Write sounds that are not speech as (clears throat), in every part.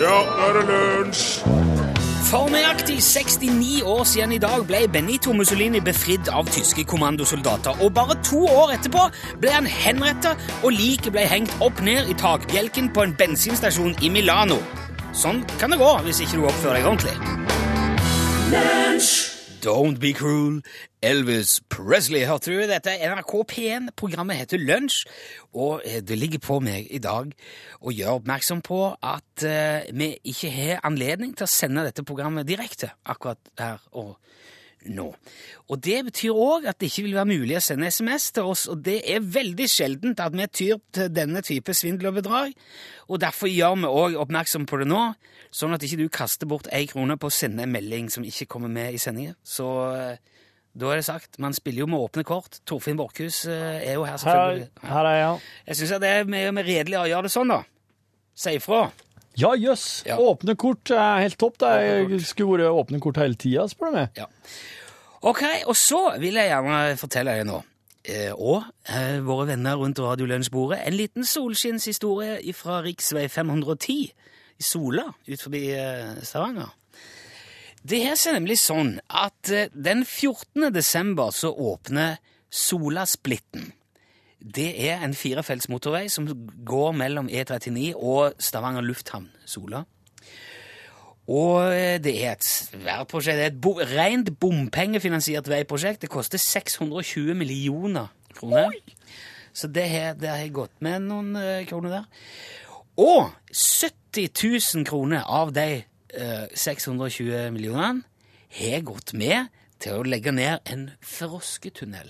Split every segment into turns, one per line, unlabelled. Ja, nå er det lunsj!
For nøyaktig 69 år siden i dag ble Benito Mussolini befridd av tyske kommandosoldater. Og bare to år etterpå ble han henrettet, og liket ble hengt opp ned i takbjelken på en bensinstasjon i Milano. Sånn kan det gå hvis ikke du oppfører deg ordentlig. Don't be cruel. Elvis Presley, hørte du? Dette er NRK P1. Programmet heter Lunsj, og eh, det ligger på meg i dag å gjøre oppmerksom på at eh, vi ikke har anledning til å sende dette programmet direkte akkurat her og nå. Og det betyr òg at det ikke vil være mulig å sende SMS til oss, og det er veldig sjeldent at vi tyr til denne type svindel og bedrag, og derfor gjør vi òg oppmerksom på det nå, sånn at ikke du kaster bort ei krone på å sende en melding som ikke kommer med i sendingen. Så eh, da er det sagt, man spiller jo med åpne kort. Torfinn Borkhus eh, er jo her,
Her,
selvfølgelig.
her er jeg.
Jeg syns det er mer mer redelig å gjøre det sånn, da. Si ifra.
Ja, jøss.
Ja.
Åpne kort er helt topp. Det er- skulle vært åpne kort hele tida, spør du meg.
Ok, og så vil jeg gjerne fortelle deg nå, eh, og eh, våre venner rundt radiolunsjbordet, en liten solskinnshistorie fra riksvei 510 i Sola, ut forbi eh, Stavanger. Det her ser nemlig sånn at eh, den 14. desember så åpner Solasplitten. Det er en firefelts motorvei som går mellom E39 og Stavanger lufthavn, Sola. Og eh, det er et svært prosjekt. Det er et bo rent bompengefinansiert veiprosjekt. Det koster 620 millioner kroner. Så det har det har jeg gått med noen eh, kroner der. Og 70 000 kroner av de eh, 620 millionene har gått med til å legge ned en frosketunnel.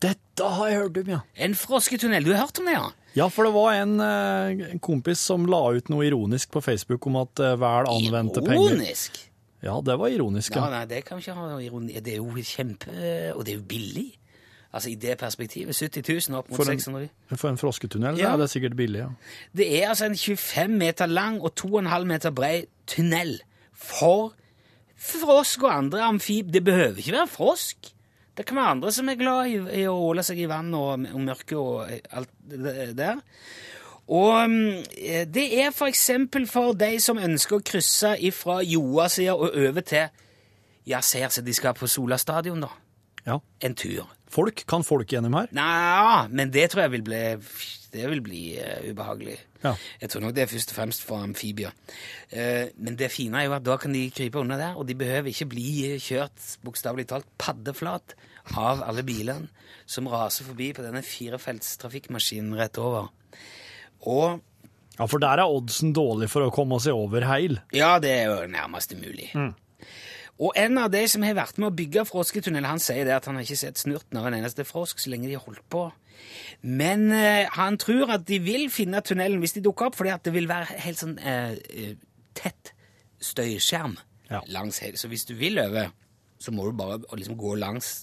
Dette har jeg hørt om, ja.
En frosketunnel! Du har hørt om det, ja?
Ja, for det var en, eh, en kompis som la ut noe ironisk på Facebook om at eh, vel anvendte penger
Ironisk!
Ja, det var ironisk,
Ja,
ja.
nei, det kan vi ikke ha noe ironi. Det er jo kjempe... Og det er jo billig. Altså, i det perspektivet. 70 000 opp mot
For en-
600 000.
For en frosketunnel
Ja.
ja. det er sikkert billig, ja.
Det er altså en 25 meter lang og 2,5 meter brei tunnel for frosk og andre amfib. Det behøver ikke være frosk. Det kan være andre som er glad i, i å åle seg i vann og, og mørke og eh, alt det der. Og mm, eh, det er for eksempel for de som ønsker å krysse fra Joa-sida og over til Ja, ser seg de skal på Sola stadion, da.
ja.
En tur.
Folk kan folk gjennom her.
Nja, men det tror jeg vil bli, det vil bli eh, ubehagelig.
Ja.
Jeg tror nok det er først og fremst for amfibier. Eh, men det fine er jo at da kan de krype under der, og de behøver ikke bli eh, kjørt, bokstavelig talt, paddeflat av alle bilene som raser forbi på denne firefelts trafikkmaskinen rett over. Og
Ja, for der er oddsen dårlig for å komme seg over heil.
Ja, det er jo nærmest umulig. Og en av de som har vært med å bygge frosketunnel, han sier det at han har ikke sett snurten av en eneste frosk så lenge de har holdt på. Men eh, han tror at de vil finne tunnelen hvis de dukker opp, fordi at det vil være helt sånn eh, eh, tett støyskjerm
Ja.
langs hele. Så hvis du vil over, så må du bare liksom gå langs.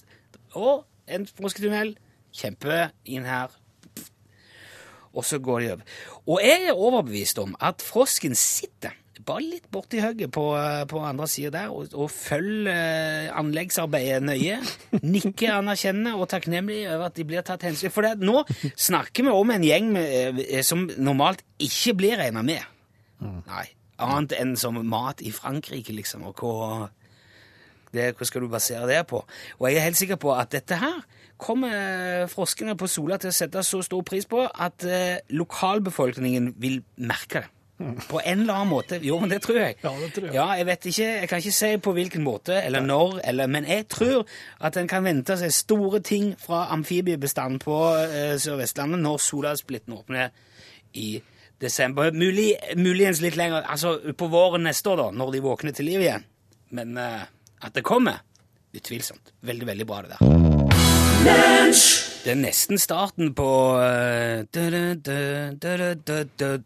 Og en frosketunnel, kjempe inn her, og så går de over. Og jeg er overbevist om at frosken sitter bare litt borti hugget på, eh, på andre sida der og, og følger eh, anleggsarbeidet nøye. Nikker anerkjennende og takknemlig over at de blir tatt hensyn til. For det, at nå snakker vi om en gjeng med, eh, som normalt ikke blir regna med. Nei. Annet enn som mat i Frankrike, liksom. Og hva, det, hva skal du basere det på? Og jeg er helt sikker på at dette her kommer froskene på Sola til å sette så stor pris på at eh, lokalbefolkningen vil merke det. På en eller annen måte. Jo, men det tror jeg.
Mm. Ja, det tror jeg.
Ja, jeg vet ikke, jeg kan ikke si på hvilken måte eller når, eller, men jeg tror at en kan vente seg store ting fra amfibiebestanden på eh, Sør-Vestlandet når Solasplitten åpner i desember. Mulig, muligens litt lenger, altså på våren neste år, da, når de våkner til liv igjen. Men eh, at det kommer, utvilsomt. Veldig, veldig bra, det der. Det er nesten starten på eh, du-du-du,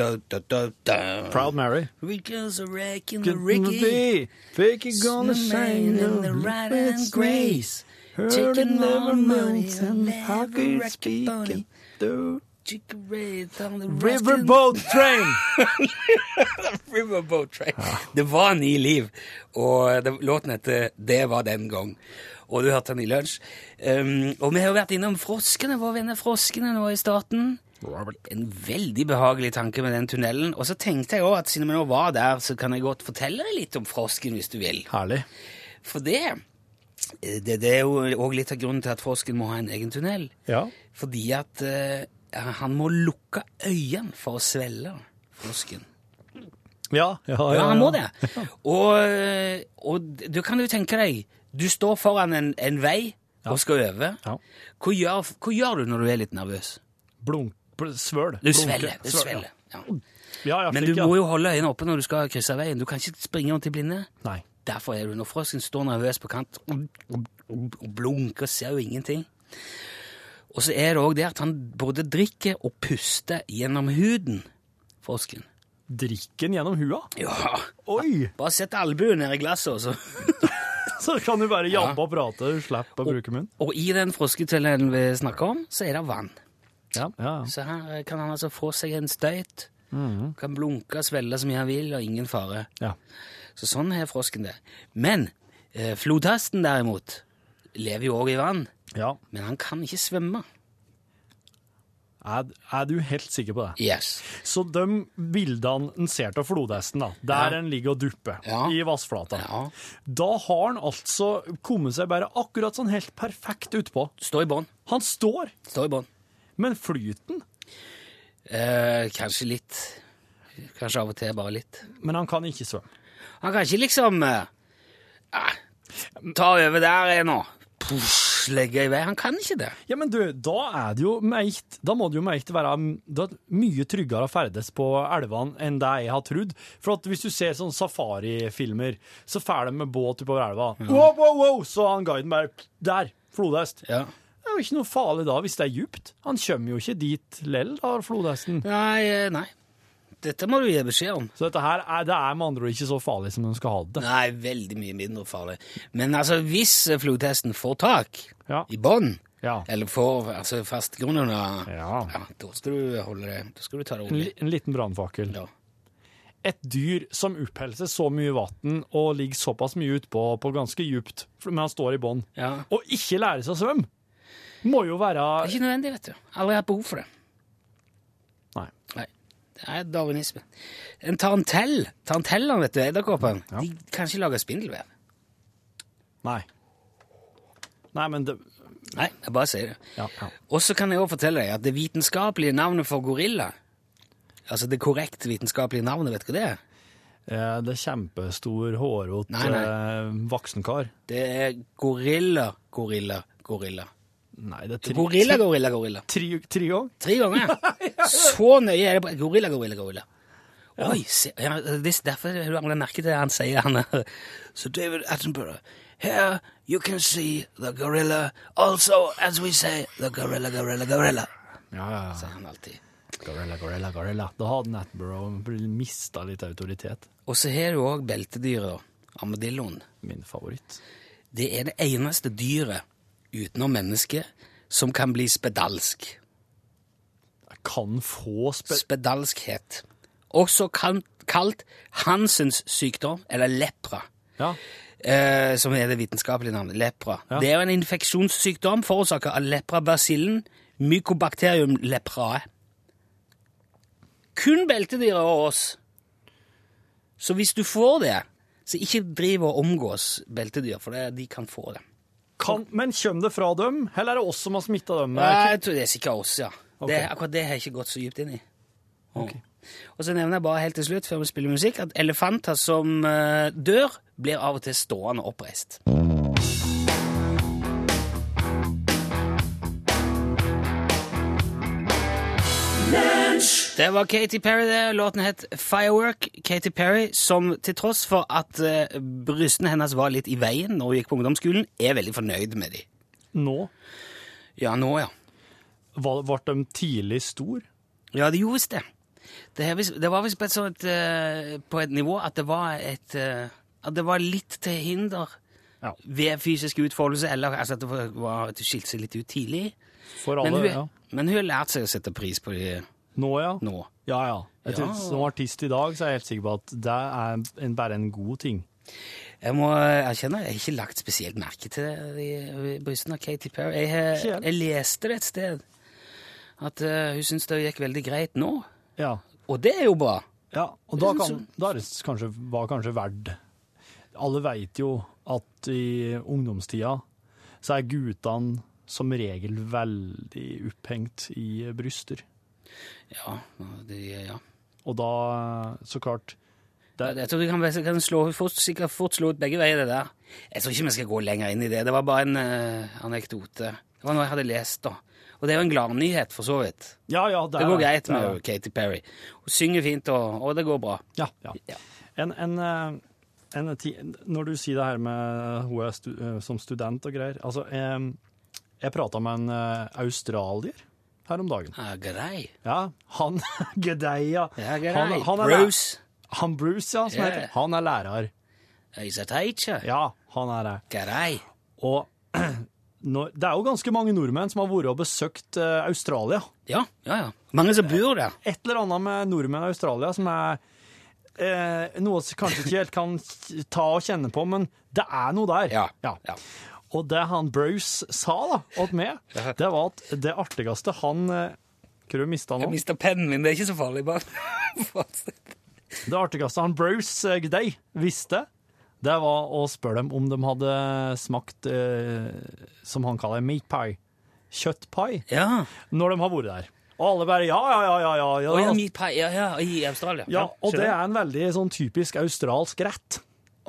du-du-du-du-du-du-du-du.
Proud Mary.
Ricky's a wreck in the Ricky.
Fake you gonna
Snowman
shine
in the right and grace. Chicken
Chicken never
on
melts
money,
and
never
hungry
wreck a bunny.
speaking. Do-
Chick-a-ray on the ruskin- (laughs)
Riverboat train!
Riverboat Train. (laughs) Det var Ni Liv, og det, låten heter Det var den gang. Og du hørte den i lunsj. Um, og vi har jo vært innom froskene, våre venner froskene nå i starten. En veldig behagelig tanke med den tunnelen. Og så tenkte jeg også at siden vi nå var der, så kan jeg godt fortelle deg litt om frosken hvis du vil.
Herlig.
For det, eh, det, det er jo også litt av grunnen til at frosken må ha en egen tunnel.
Ja.
Fordi at eh, han må lukke øynene for å svelge frosken.
Ja, ja, ja,
Ja, han må
ja.
det. Og, og du kan jo tenke deg, du står foran en, en vei og skal øve.
Ja.
Hva gjør, hva gjør du når du er litt nervøs?
Blunk, bl svøl.
Du
Blunke.
svelger. Du
Svøl,
svelger. Ja.
Ja, ja,
Men
slik,
du
ja.
må jo holde øynene oppe når du skal krysse veien. Du kan ikke springe rundt i blinde.
Nei.
Derfor er du når frosken står nervøs på kant og blunker og ser jo ingenting. Og så er det òg det at han både drikker og puster gjennom huden. Frosken.
Drikken gjennom hua?
Ja.
Oi! (laughs)
Bare sett albuen ned i glasset, og så
Så kan du bare jabbe og prate, du slipper å bruke munn.
Og i den frosketellen vi snakker om, så er det vann.
Ja.
Så her kan han altså få seg en støyt. Kan blunke og svelle som han vil, og ingen fare.
ja.
Så sånn har frosken det. Men eh, flodhesten derimot lever jo òg i vann.
ja.
Men han kan ikke svømme.
Er, er du helt sikker på det?
Yes.
Så de bildene en ser av flodhesten, da, der
Ja.
en ligger og dupper
Ja.
i vassflata,
Ja.
da har han altså kommet seg bare akkurat sånn helt perfekt utpå.
Stå i bånn.
Han står,
Stå i bånn.
men flyten
Eh, kanskje litt. Kanskje av og til bare litt.
Men han kan ikke svømme.
Han kan ikke liksom eh, ah, Ta over der jeg nå. Push, legge i vei. Han kan ikke det.
Ja, men du, da er det jo meikt Da må det jo meikt være m- da er det mye tryggere å ferdes på elvene enn det jeg har trodd. For at hvis du ser sånne safarifilmer, så fær de med båt oppover elva. Wow, wow, wow! Så han guiden bare Der! Flodhest.
Ja.
Det er jo ikke noe farlig da, hvis det er djupt. Han kommer jo ikke dit lell, da, flodhesten.
Nei, eh, nei. Dette må du gi beskjed om.
Så dette her er, det er med andre ord ikke så farlig som de skal ha det.
Nei, veldig mye mindre farlig. Men altså, hvis eh, flodhesten får tak
Ja.
i bånn,
ja.
eller får altså, fast grunn under
ja.
Ja, da skal du holde det Da skal du ta det
En,
rolig.
li- en liten brannfakkel.
Ja.
et dyr som oppholder seg så mye vann og ligger såpass mye utpå på ganske djupt, for- men han står i bånn,
ja.
og ikke lærer seg å svømme, må jo
Det er
være
ikke nødvendig, vet du. Aldri hatt behov for det.
Nei.
Nei. Det er darwinisme. En tarantell. Tarantellene, vet du, edderkoppen,
Ja.
de kan ikke lage spindelvev.
Nei, Nei men det
Nei, jeg bare sier det.
ja, ja.
Og så kan jeg også fortelle deg at det vitenskapelige navnet for gorilla Altså det korrekt vitenskapelige navnet, vet du hva det er?
Eh, Det er kjempestor, hårete
Nei, nei.
eh, voksenkar.
Det er gorilla, gorilla, gorilla.
Nei, det er tri,
Gorilla, gorilla, gorilla.
Tri, tri ganger?
Tre ganger. Så nøye er det på Gorilla, gorilla, gorilla. Oi, se, ja, det er derfor har du merke til det han sier. Han er. So David Attenborough, here you can see the gorilla, also as we say, the gorilla, gorilla, gorilla.
Ja, ja, ja.
sier han alltid.
Gorilla, gorilla, gorilla. Da hadde Natborough mista litt autoritet.
Og så har du òg beltedyret, armadilloen.
Min favoritt.
Det er det eneste dyret utenom mennesket som kan bli spedalsk.
Jeg kan få spe...
Spedalskhet. Også kan- kalt Hansens sykdom, eller lepra.
Ja.
eh, som er det vitenskapelige navnet, lepra. Det er jo en infeksjonssykdom forårsaka av leprabasillen mycobacterium leprae. Kun beltedyret og oss. Så hvis du får det, så ikke driv og omgås beltedyr, for det, de kan få det.
Kan, men kommer det fra dem, eller er det oss som har smitta dem? Eh,
Nei, jeg tror det er sikkert oss, ja.
Ok.
Det, akkurat det har jeg ikke gått så dypt inn i. Ja. Og så nevner jeg bare helt til slutt, før vi spiller musikk, at elefanter som eh, dør, blir av og til stående oppreist. Det var Katy Perry, det. Låten het Firework. Katy Perry, som til tross for at eh, brystene hennes var litt i veien når hun gikk på ungdomsskolen, er veldig fornøyd med de.
Nå
Ja, nå, ja.
Var- Ble de tidlig stor?
Ja, det gjorde visst det. Det, her vis- det var visst på et sånt eh, på et nivå at det var et eh, At det var litt til hinder
Ja.
ved fysisk utfoldelse, eller altså at det var- var at du skilte seg litt ut tidlig.
For
Men
alle,
hun,
ja.
men hun har lært seg å sette pris på det
Nå, ja.
nå.
Ja, ja. Jeg
Ja.
tror, Som artist i dag så er jeg helt sikker på at det er en, bare en god ting.
Jeg må erkjenne, jeg har ikke lagt spesielt merke til det i- i brystene av Katy Perry. Jeg, har-
Ikke jeg.
jeg leste det et sted At eh, hun syns det gikk veldig greit nå.
Ja.
Og det er jo bra.
ja. Og
sånn
da, kan, da er det kanskje, var kanskje verdt Alle veit jo at i ungdomstida så er guttene som regel veldig opphengt i bryster.
Ja, det, ja.
Og da, så klart
Ja, Jeg tror vi kan, vi kan slå, fort, sikkert fort slå ut begge veier, det der. Jeg tror ikke vi skal gå lenger inn i det. Det var bare en eh, anekdote. Det var noe jeg hadde lest, da. Og det er jo en gladnyhet, for så vidt.
Ja, ja,
Det går greit med jo Katy Perry. Hun synger fint, og, og det går bra.
Ja, ja.
Ja.
En, en, eh, en ti, når du sier det her med hun er stu, eh, som student og greier Altså, em, jeg prata med en eh, australier her om dagen.
Ja, grei.
Ja, han (laughs) Gedeia.
Ja, grei.
han, han, er, læ-
Bruce
han Bruce, ja, som
Ja.
heter. Han er lærer.
is a teacher.
Ja, han er det.
Grei.
Og (clears throat) når, det er jo ganske mange nordmenn som har vært og besøkt eh, Australia.
Ja, ja, ja. Mange som bor der.
et eller annet med nordmenn og Australia som er eh, noe vi kanskje ikke helt kan ta og kjenne på, men det er noe der.
Ja, ja.
Og det han Bruce sa da, åt meg, det var at det artigste han eh, Hvor mista han
Jeg
nå?
mista pennen min, det er ikke så farlig, bare. Fortsett.
Det artigste han Bruce eh, Gday visste, det var å spørre dem om de hadde smakt eh, som han kaller meat pie. Kjøttpai.
ja.
Når de har vært der. Og alle bare ja, ja, ja, ja. ja, ja.
Og ja, meat pie, ja, ja, i Australia.
ja og det
skjønner.
er en veldig sånn typisk australsk rett.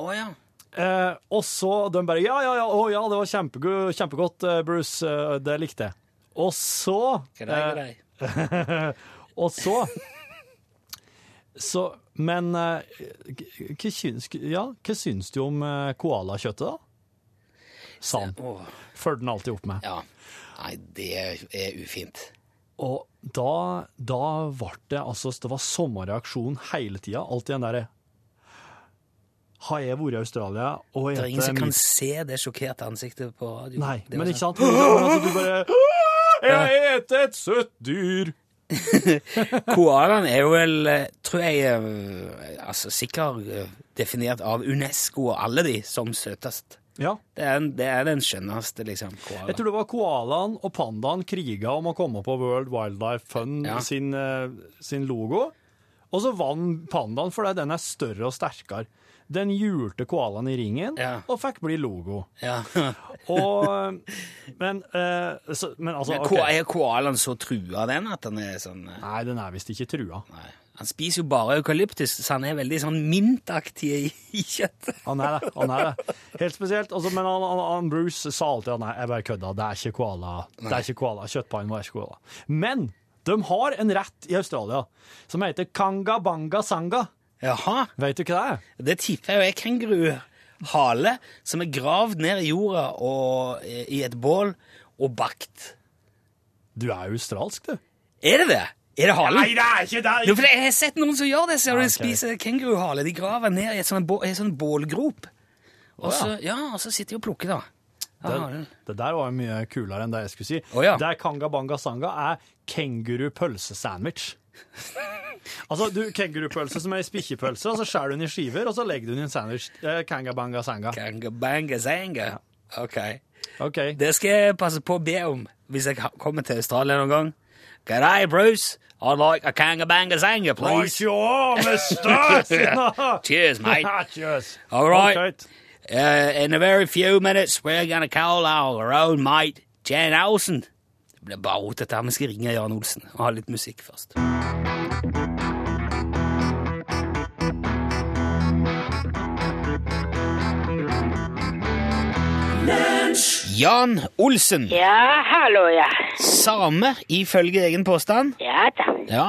Å ja.
Eh, og så de bare Ja, ja, ja, å, ja det var kjempegodt, kjempegodt eh, Bruce. eh, det likte jeg. Og så
Grei,
eh,
grei.
Og så Så Men eh, k- hva syns, ja, hva syns du om eh, koalakjøttet, da? Sa han.
Åh.
Følger den alltid opp med.
Ja. Nei, det er ufint.
Og da, da ble det altså Det var samme reaksjon hele tida. Alltid den derre Har jeg vært i Australia og
Det er ingen som
spist
kan se det sjokkerte ansiktet på radio.
Nei,
det altså. sånn.
men
var
ikke sant? Men sånn at du bare Jeg eter et søtt dyr!
sånn. Koalaen er jo vel, eh, tror jeg, eh, altså sikkert eh, definert av UNESCO og alle de som søtest.
Ja.
Det er, en- det er den skjønneste, liksom,
Jeg
koalaen.
tror det var koalaen og pandaen kriga om å komme på World Wildlife Fund
Ja.
sin, eh, sin logo. Og så vant pandaen fordi den er større og sterkere. Den hjulte koalaen i ringen
Ja.
og fikk bli logo. (laughs)
Ja.
Og, men, eh, så, men altså
Men
ok.
ko- Er koalaen så trua, den, at den er sånn eh,
Nei, den er visst ikke trua.
Nei. Han spiser jo bare eukalyptus, så han er veldig sånn mintaktig i, i (laughs) kjøttet.
Han er det. han er det. Helt spesielt. Altså, men han, han, han Bruce sa alltid at nei, jeg bare kødda, det er ikke koala. Det er ikke koala. Kjøttpaien var ikke koala. Men de har en rett i Australia som heter kanga banga sanga.
Jaha.
Vet du hva det er?
Det tipper jeg jo er kenguruhale som er gravd ned i jorda og i et bål og bakt.
Du er australsk, du.
Er det det? Er det halen?
det er ikke
Jo, for jeg har sett noen som gjør det. Ser du,
Ja,
de
ok.
spiser kenguruhale. De graver ned i et sånn, bå- i et sånn bålgrop. Og så, ja, og så sitter de og plukker, da. Ja,
Det,
halen.
det der var jo mye kulere enn det jeg skulle si.
Å, ja.
Det er kanga banga sanga er
(laughs)
kenguru-pølsesandwich. altså, du, kengurupølse som er i spikkepølse, og så skjærer du den i skiver, og så legger du den i en sandwich. Eh, kanga banga sanga.
Ganga, banga, zanga. Ok.
Ok.
Det skal jeg passe på å be om hvis jeg ha- kommer til Australia noen gang. G'day, Bruce. I'd like a kanga banga zanga, please.
sure,
(laughs)
Mr.
Cheers,
(laughs)
mate.
Cheers.
All right. Uh, in a very few minutes, we're gonna call our own mate Jan Olsen. Det blir bare rot dette her. Vi skal ringe Jan Olsen og ha litt musikk først. Jan Olsen,
Ja, hallo, ja.
same ifølge egen påstand.
Ja da.
Ja.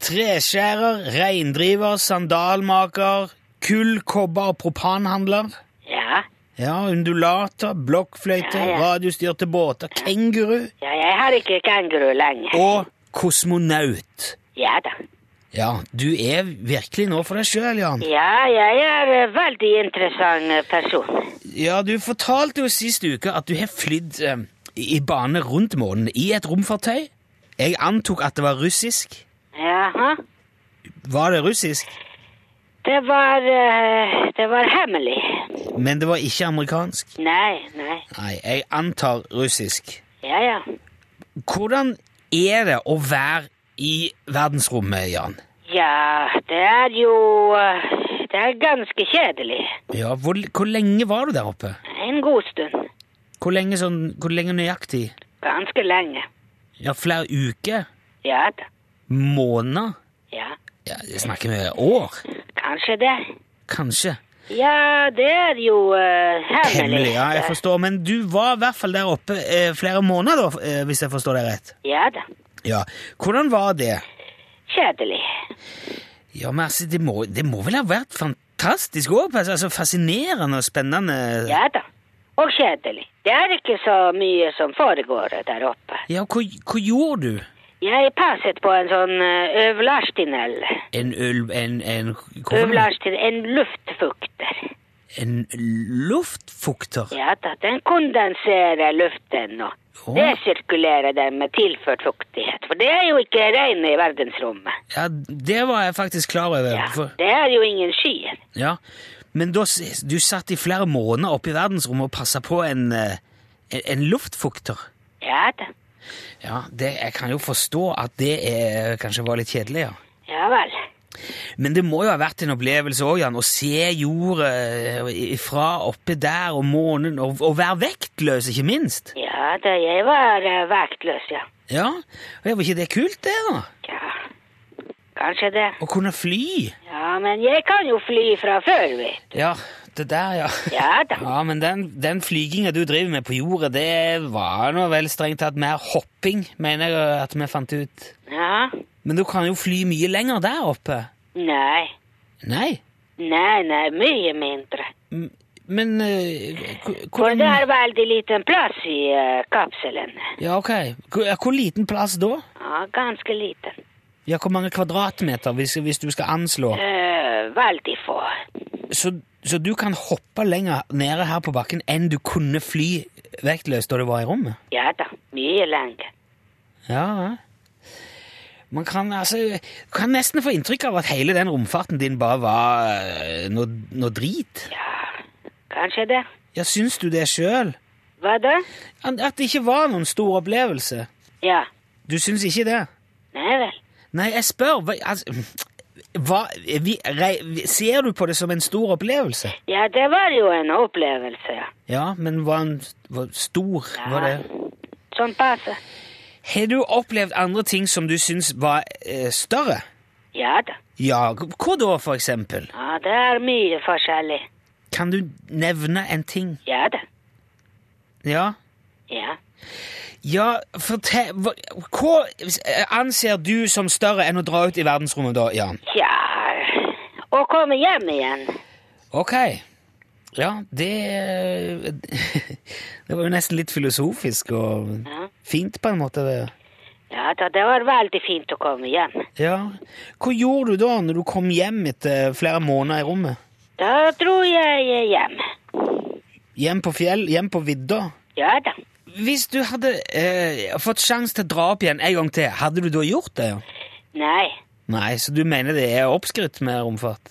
Treskjærer, reindriver, sandalmaker, kull, kobber og propanhandler.
Ja.
Ja, undulater, blokkfløyte,
Ja, ja.
radiostyrte båter, kenguru
ja, jeg har ikke kanguru lenger.
og kosmonaut.
Ja da.
Ja, du er virkelig nå for deg sjøl, Jan.
Ja, jeg er eh, veldig interessant eh, person.
Ja, du fortalte jo sist uke at du har flydd eh, i bane rundt månen i et romfartøy. Jeg antok at det var russisk.
Jaha.
Var det russisk?
Det var, eh, det var hemmelig.
Men det var ikke amerikansk.
Nei, nei.
Nei, jeg antar russisk.
Ja, ja.
Hvordan er det å være i verdensrommet, Jan?
Ja, det er jo eh, Det er ganske kjedelig.
Ja, hvor, hvor lenge var du der oppe?
En god stund.
Hvor lenge, sånn, hvor lenge nøyaktig?
Ganske lenge.
Ja, flere uker?
Ja da.
Måneder?
Ja,
Ja, jeg snakker vi år?
kanskje det.
Kanskje.
Ja, det er jo eh, hemmelig.
Hemmelig, ja, jeg forstår. Men du var i hvert fall der oppe eh, flere måneder, da, eh, hvis jeg forstår deg rett?
Ja da.
Ja. Hvordan var det?
Kjedelig.
Ja, men altså, det må, det må vel ha vært fantastisk òg? Altså, fascinerende og spennende.
Ja da. Og kjedelig. Det er ikke så mye som foregår der oppe.
Ja, hva, hva gjorde du?
Jeg passet på en sånn eh, øvlarstunnel.
En ulv En, en, hva var det?
Øvlarstunnel, en luftfukter.
en luftfukter?
Ja da, den kondenserer luften og
Å.
resirkulerer den med tilført fuktighet. For det er jo ikke regn i verdensrommet.
Ja, det var jeg faktisk klar over.
Ja,
for-
det er jo ingen skyer.
ja. Men da, s- du satt i flere måneder oppe i verdensrommet og passa på en, eh, en, en luftfukter.
Ja da.
Ja, det, Jeg kan jo forstå at det er, kanskje var litt kjedelig, ja.
Ja vel.
Men det må jo ha vært en opplevelse òg, Jan, å se jorda fra oppe der og månen, og, og være vektløs, ikke minst.
Ja da, jeg var eh, vektløs, ja.
Ja, og Var ikke det kult, det? da?
Ja, kanskje det.
Å kunne fly.
Ja, men jeg kan jo fly fra før, vet du.
Ja, det der, ja.
Ja da.
Ja, men den, den flyginga du driver med på jorda, det var nå vel strengt tatt mer hopping, mener jeg at vi fant ut.
Ja.
Men du kan jo fly mye lenger der oppe.
Nei.
Nei,
Nei, nei, mye mindre.
men eh, hvor-
For
hvordan
det er veldig liten plass i eh, kapselen.
Ja, ok. Hvor, ja, hvor liten plass da?
Ja, ganske liten.
Ja, Hvor mange kvadratmeter, hvis, hvis du skal anslå?
Eh, veldig få.
Så, så du kan hoppe lenger nede her på bakken enn du kunne fly vektløst da du var i rommet?
Ja da, mye lenger.
Ja, ja. Man kan, altså, kan nesten få inntrykk av at hele den romfarten din bare var eh, noe, noe drit.
Kanskje det.
Ja, syns du det sjøl?
Hva da?
At at det ikke var noen stor opplevelse?
Ja.
Du syns ikke det?
Nei vel.
Nei, jeg spør. Hva, altså, hva, vi, rei, ser du på det som en stor opplevelse?
Ja, det var jo en opplevelse, ja.
Ja, men var den var stor? Var det?
Sånn passe.
Har du opplevd andre ting som du syns var eh, større?
Ja da.
Ja, hva da, for eksempel?
Ja, det er mye forskjellig.
Kan du nevne en ting?
Ja da.
Ja?
Ja.
Ja, fortell hva- Hva anser du som større enn å dra ut i verdensrommet, da, Jan?
Ja. Å komme hjem igjen.
Ok. Ja, det (laughs) Det var jo nesten litt filosofisk og
Ja.
fint, på en måte. det.
Ja da, det var veldig fint å komme hjem.
Ja. Hva gjorde du da, når du kom hjem etter flere måneder i rommet?
Da dro jeg hjem.
Hjem på fjell? Hjem på vidda?
Ja da.
Hvis du hadde eh, fått sjanse til å dra opp igjen en gang til, hadde du da gjort det? ja?
Nei.
Nei, så du mener det er oppskrytt med romfart?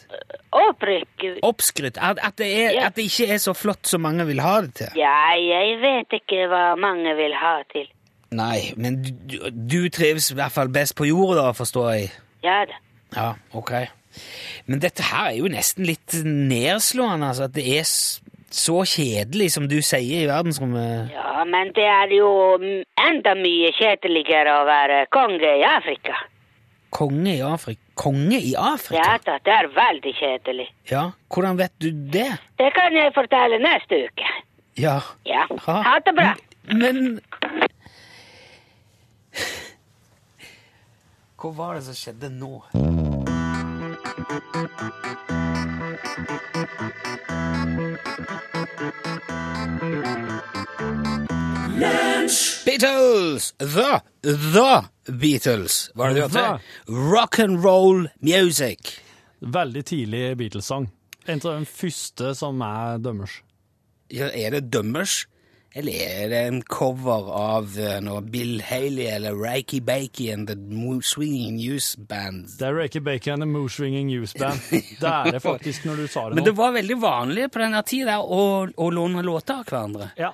Opprykk.
Oppskrytt? At, at, det er,
Ja.
at det ikke er så flott som mange vil ha det til?
Ja, jeg vet ikke hva mange vil ha til.
Nei, men du, du- du trives i hvert fall best på jorda, forstår jeg.
Ja da.
Ja, ok. Men dette her er jo nesten litt nedslående, altså. At det er s- så kjedelig som du sier i verdensrommet.
Ja, men det er jo m- enda mye kjedeligere å være konge i Afrika.
Konge i Afrika Konge i
Ja
Afrika?
da, det er veldig kjedelig.
Ja, hvordan vet du det?
Det kan jeg fortelle neste uke.
Ja.
Ja. Ha det bra.
Men Hva var det som skjedde nå? Beatles! The, the Beatles, var det det
The.
het? Rock and roll music.
Veldig tidlig Beatles-sang. En av de første som er dømmers.
Ja, er det dømmers? Eller er det en cover av eh, noe Bill Haley eller Reiki Bakey and the Mo- Swinging News Band?
Det er Reiki Bacon and the Mooswinging Youth
(laughs)
Band. Det er det faktisk når du sa det
Men det
nå.
var veldig vanlig på denne tida å, å låne låter av hverandre.
Ja.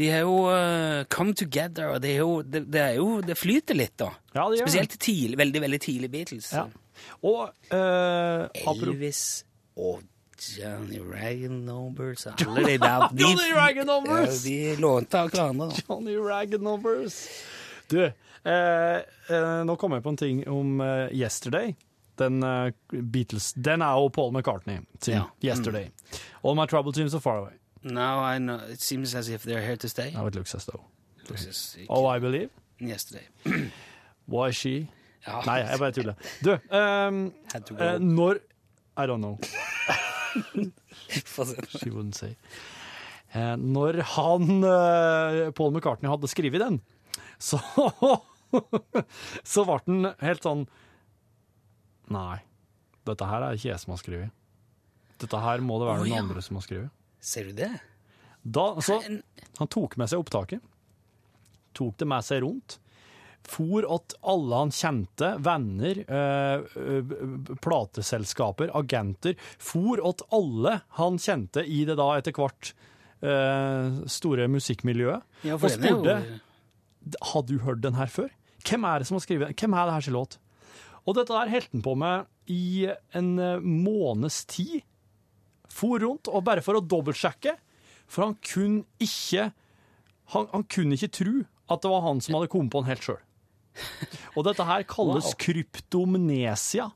De har jo eh, come together, og det, er jo, det, det, er jo, det flyter litt, da.
Ja, det gjør det.
Spesielt tidlig, veldig, veldig tidlig Beatles.
ja. Og eh, apropos
Elvis og Johnny Ragnovers Alle de der. de-
Johnny
Ja,
Ragganovers!
de lånte av hverandre, da.
Johnny Ragnovers. Du, eh, eh, nå kom jeg på en ting om eh, Yesterday. Den eh, Beatles Den er jo Paul McCartney sin
Ja. Mm.
Yesterday. All my trouble seems so far away.
Now I know it seems as if they're here to stay.
Now it looks as though.
This is
Oh, I believe.
yesterday.
Why she?
Ja.
Nei, jeg bare tuller. Du, ehm,
Had to go. (laughs)
eh, når I don't know.
Få se.
She wouldn't say. Eh, når han, eh, Paul McCartney, hadde skrevet den, så (laughs) Så ble den helt sånn Nei, dette her er ikke jeg som har skrevet. Dette her må det være
Å,
noen
ja.
andre som har skrevet.
Ser du det?
Da, så
En-
han tok med seg opptaket, tok det med seg rundt, for at alle han kjente, venner, eh, eh, plateselskaper, agenter, for at alle han kjente i det da etter hvert eh, store musikkmiljøet,
Ja, for
og
den er jo-
spurte har du hørt den her før? Hvem er det som har skrevet den? Hvem er det her sin låt? Og dette der heldt han på med i en eh, måneds tid. For rundt, og bare for å dobbeltsjekke. For han kunne ikke han, han kunne ikke tro at det var han som hadde kommet på den helt sjøl. Og dette her kalles
Wow.
kryptomnesia.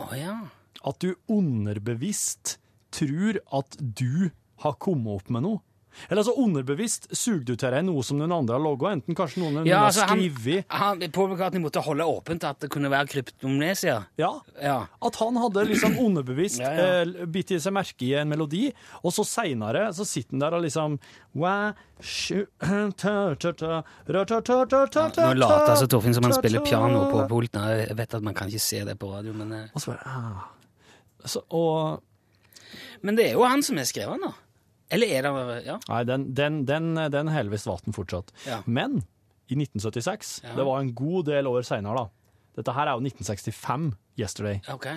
Å ja.
At du underbevisst tror at du har kommet opp med noe. Eller altså underbevisst suger du til deg noe som noen andre har logga, enten kanskje noen, noen
ja altså,
har
han,
skrevet
han, Paul McCartney måtte holde åpent at det kunne være kryptomnesia.
ja.
Ja.
At han hadde liksom underbevisst
Ja, ja.
eh, bitt i seg merke i en melodi, og så seinere så sitter han der og liksom Why (clears throat) should- ta, ta, ta, ra, ta, ta, ta, ta, ta,
Nå later altså
ta,
Torfinn som han
ta,
spiller
ta.
piano på pult. Nei, Jeg vet at man kan ikke se det på radio, men eh,
Og så bare ah. så, Og
Men det er jo han som er skrevet nå. Eller er det Ja.
Nei, den, den, den, den heller visst vann fortsatt.
Ja.
Men i 1976,
Ja.
det var en god del år seinere, da. Dette her er jo 1965, 'Yesterday'.
Ok.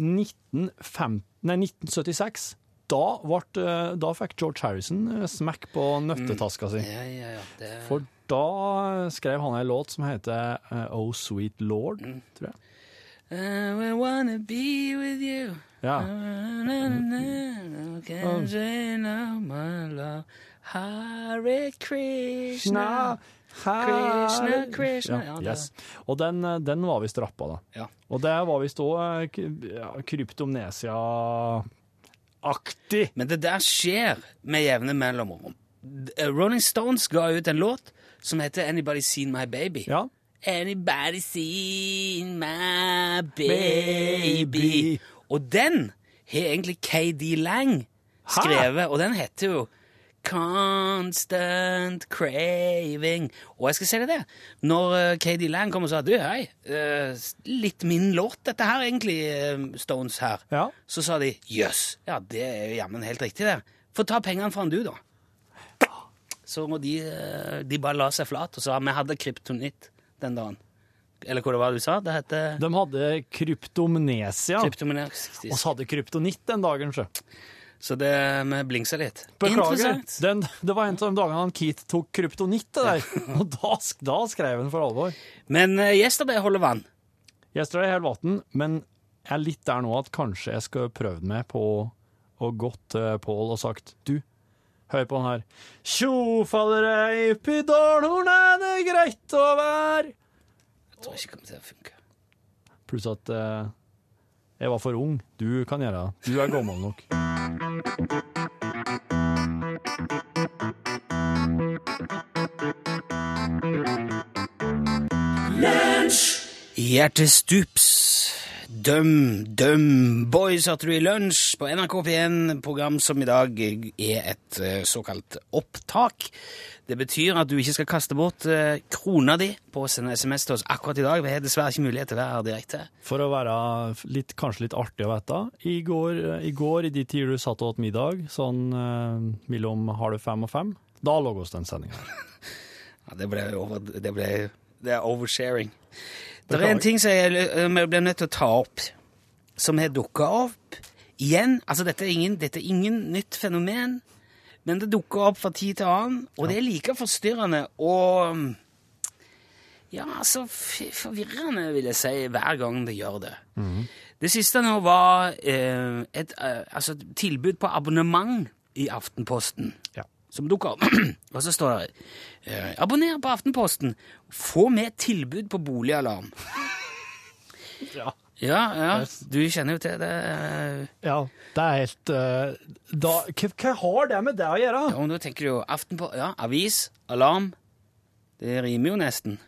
1905, nei, 1976, da, vart, eh, da fikk George Harrison eh, smekk på nøttetaska si.
Ja, ja, ja. Det...
For da skrev han en låt som heter eh, Oh Sweet Lord, tror jeg.
I wanna be with you.
Ja.
Na-na-na-na, Can't say no, my love. Hare Krishna. Krishna, Krishna. Ja,
Ja,
det-
yes. Og den, eh, den var visst rappa, da.
Ja.
Og det var visst òg ja, kryptomnesia-aktig.
Men det der skjer med jevne mellomrom. D- eh, Rolling Stones ga ut en låt som heter Anybody Seen My Baby.
Ja.
Anybody seen my baby?
Baby.
Og den har egentlig KD Lang skrevet, og den heter jo Constant Craving. Og jeg skal si deg det, når eh, KD Lang kom og sa du, hei, eh, s- litt min låt dette her egentlig, eh, Stones her,
Ja.
så sa de jøss, ja det er jo jammen helt riktig det. Få ta pengene fra han du, da. Så må de, eh, de bare la seg flat og sa vi hadde kryptonitt den dagen. Eller hva det var du sa? Det heter
De hadde kryptomnesia,
kryptominerksistisk.
og så hadde kryptonitt den dagen. Sjø.
Så det, eh, vi blingsa litt.
Beklager.
Interessant.
Den, det var en av de dagene han Keith tok kryptonitt det der, (laughs) og da, sk- da skrev han for alvor.
Men uh, Yesterday holder vann.
Yesterday er helt vann, men jeg er litt der nå at kanskje jeg skal prøve meg på å gått til Pål og sagt Du, hør på den her. Tjo, faller ei oppi dårnhorn, er det greit å være
Jeg tror ikke det kommer til å funke.
Pluss at eh, jeg var for ung. Du kan gjøre det. Du er gammel nok.
Hjertestups. Døm, døm, boys, hørte du i lunsj på NRK P1, program som i dag er et eh, såkalt opptak. Det betyr at du ikke skal kaste bort eh, krona di på å sende SMS til oss akkurat i dag. Vi har dessverre ikke mulighet til å være her direkte.
For å være litt, kanskje litt artig å vite, i går, i går i de tider du satt og åt middag, sånn eh, mellom halv fem og fem, Da lå oss den sendinga.
Ja, det ble over... Det ble... Det er oversharing. Det er en ting som jeg eh, vi blir nødt til å ta opp, som har dukka opp igjen. Altså, dette er, ingen, dette er ingen nytt fenomen, men det dukker opp fra tid til annen, og det er like forstyrrende og Ja, altså f- forvirrende, vil jeg si, hver gang det gjør det. Det siste nå var eh, et eh, altså, et tilbud på abonnement i Aftenposten
Ja.
som dukker opp. (clears throat) og så står det eh, Abonner på Aftenposten. Få med tilbud på boligalarm.
Ja.
Ja, ja, du kjenner jo til det. eh,
ja. Det er helt eh, da, hva, hva har det med det å gjøre?
Og nå tenker du jo Aftenpå... Ja, avis, alarm. Det rimer jo nesten.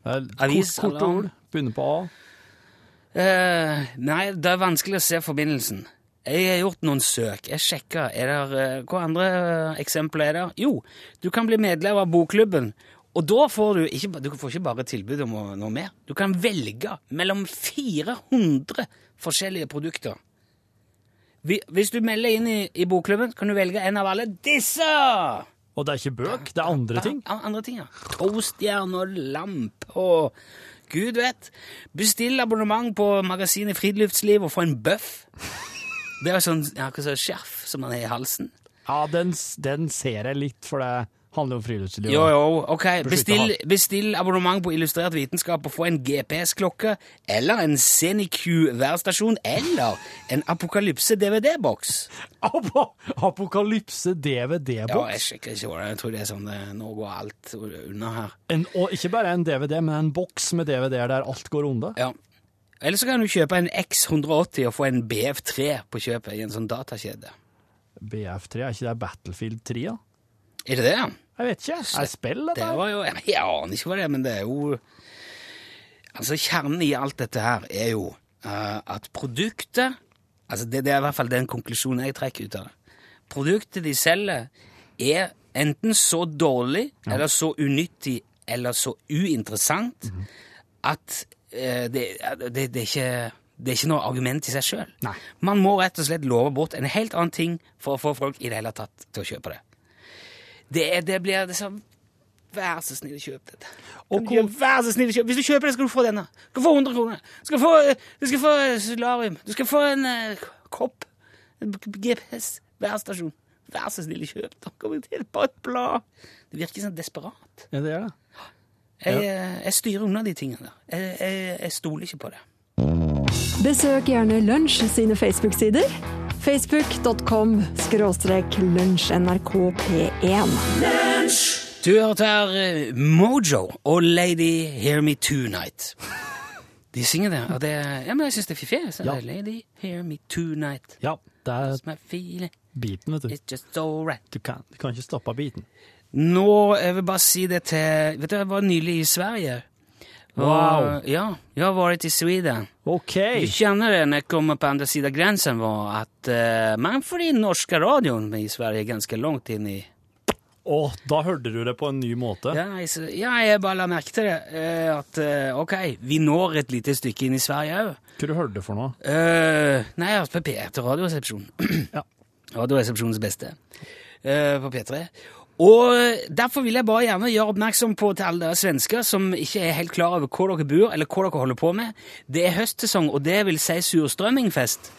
Eh, Kort,
Avis,
kort
alarm.
ord. Begynner på A.
Eh, nei, det er vanskelig å se forbindelsen. Jeg har gjort noen søk. Jeg sjekka. Er der, eh, hva andre eh, eksempler er der? Jo, du kan bli medlem av bokklubben. Og da får du ikke, ba- du får ikke bare tilbud om å- noe mer. Du kan velge mellom 400 forskjellige produkter. Hvi- Hvis du melder inn i, i bokklubben, kan du velge en av alle disse!
Og det er ikke bøk, det er andre ting.
Ja, andre ting, ja. Toastjern og lamp og Gud vet. Bestill abonnement på magasinet Friluftsliv og få en bøff. Det er jo sånn ja, hva sånn skjerf som man har i halsen.
Ja, den, s- den ser jeg litt, for det handler om friluftsliv.
Jo, jo, ok. Bestill,
han.
bestill abonnement på Illustrert vitenskap og få en GPS-klokke eller en CNIQ-værstasjon eller en Apokalypse-DVD-boks.
Ap- Apokalypse
Ja,
DVD-boks.
jeg sjekker ikke hva det er. Jeg tror det er sånn eh, Nå går alt unna her.
En- Og ikke bare en DVD, men en boks med DVD-er der alt går unna.
Ja. Eller så kan du kjøpe en X180 og få en BF3 på kjøpet i en sånn datakjede.
BF3, er ikke det Battlefield 3? da?
Er det det?
Jeg vet ikke. Er det spill,
Det
dette? her?
var jo Jeg aner ikke hva det er, men det er jo Altså, kjernen i alt dette her er jo eh, at produktet Altså, det, det er i hvert fall den konklusjonen jeg trekker ut av det. Produktet de selger, er enten så dårlig, eller så unyttig, eller så uinteressant at eh, det, det, det, er ikke, det er ikke noe argument i seg sjøl.
Nei.
Man må rett og slett love bort en helt annen ting for å få folk i det hele tatt til å kjøpe det. Det, er- det blir liksom Vær så snill, kjøp dette.
Og
Kan du
hvor-
gjøre- Vær så snill, kjøp. Hvis du kjøper det, skal du få denne. Du skal få 100 kroner. Du skal få, eh, du skal få eh, solarium. Du skal få en eh, kopp. En GPS. Værstasjon. Vær så snill, kjøp. Da kommer jeg til bare et blad. Det virker sånn desperat.
Ja, det er det.
Jeg, eh, jeg styrer unna de tingene der. Jeg, jeg, jeg stoler ikke på det.
Besøk gjerne Lunsj sine Facebook-sider. Facebook.com skråstrek lunsjnrkp1.
Du hørte her eh, Mojo og Lady Hear Me (laughs) Tonight. De synger det, og det ja, men jeg syns det er fiffig. Så
Ja.
det er Lady Hear Me Tonight.
Ja, det er
That's my feeling.
biten, vet du.
It's just alright.
Du kan, du kan ikke stoppe biten.
Nå jeg vil bare si det til Vet du, jeg var nylig i Sverige. Og,
Wow.
Ja, jeg har vært i Sweden.
OK!
Du kjenner det når jeg kommer på andre siden av grensen, var at eh, man får inn norske radioen i Sverige ganske langt inn i
Å, da hørte du det på en ny måte.
Ja, jeg, s- ja, jeg bare la merke til det. eh, at eh, ok, vi når et lite stykke inn i Sverige òg.
Hva du hørte du for noe?
Eh, nei, jeg har hørt på P1 Radioresepsjon.
Ja.
Radioresepsjonens beste. eh, på P3. Og eh, derfor vil jeg bare gjerne gjøre oppmerksom på til alle dere svensker som ikke er helt klar over hvor dere bor, eller hva dere holder på med. Det er høstsesong, og det vil si surstrømmingfest.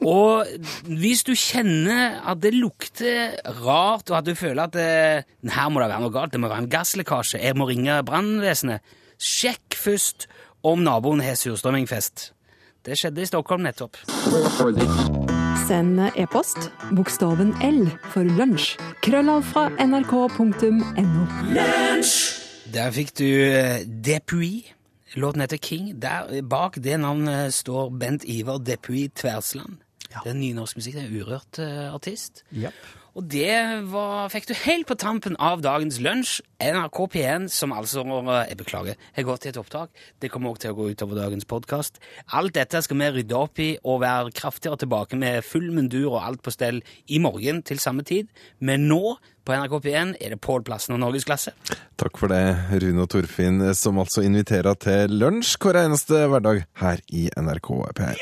Og hvis du kjenner at det lukter rart, og at du føler at det, her må det være noe galt, det må være en gasslekkasje, jeg må ringe brannvesenet, sjekk først om naboen har surstrømmingfest. Det skjedde i Stockholm nettopp.
Send e-post bokstaven L for lunsj. Krøllav fra nrk.no.
Der fikk du eh, Depuy. Låten heter King. Der, eh, bak det navnet står Bent Ivar Depuy Tversland. Det er en nynorsk musikk, det er en urørt eh, artist. Og det var, fikk du helt på tampen av dagens lunsj. NRK P1, som altså Jeg beklager, har gått til et opptak. Det kommer også til å gå utover dagens podkast. Alt dette skal vi rydde opp i og være kraftigere tilbake med full mundur og alt på stell i morgen til samme tid. Men nå, på NRK P1, er det Pål Plassen og Norgesklasse.
Takk for det, Rune og Torfinn, som altså inviterer til lunsj hver eneste hverdag her i NRK P1.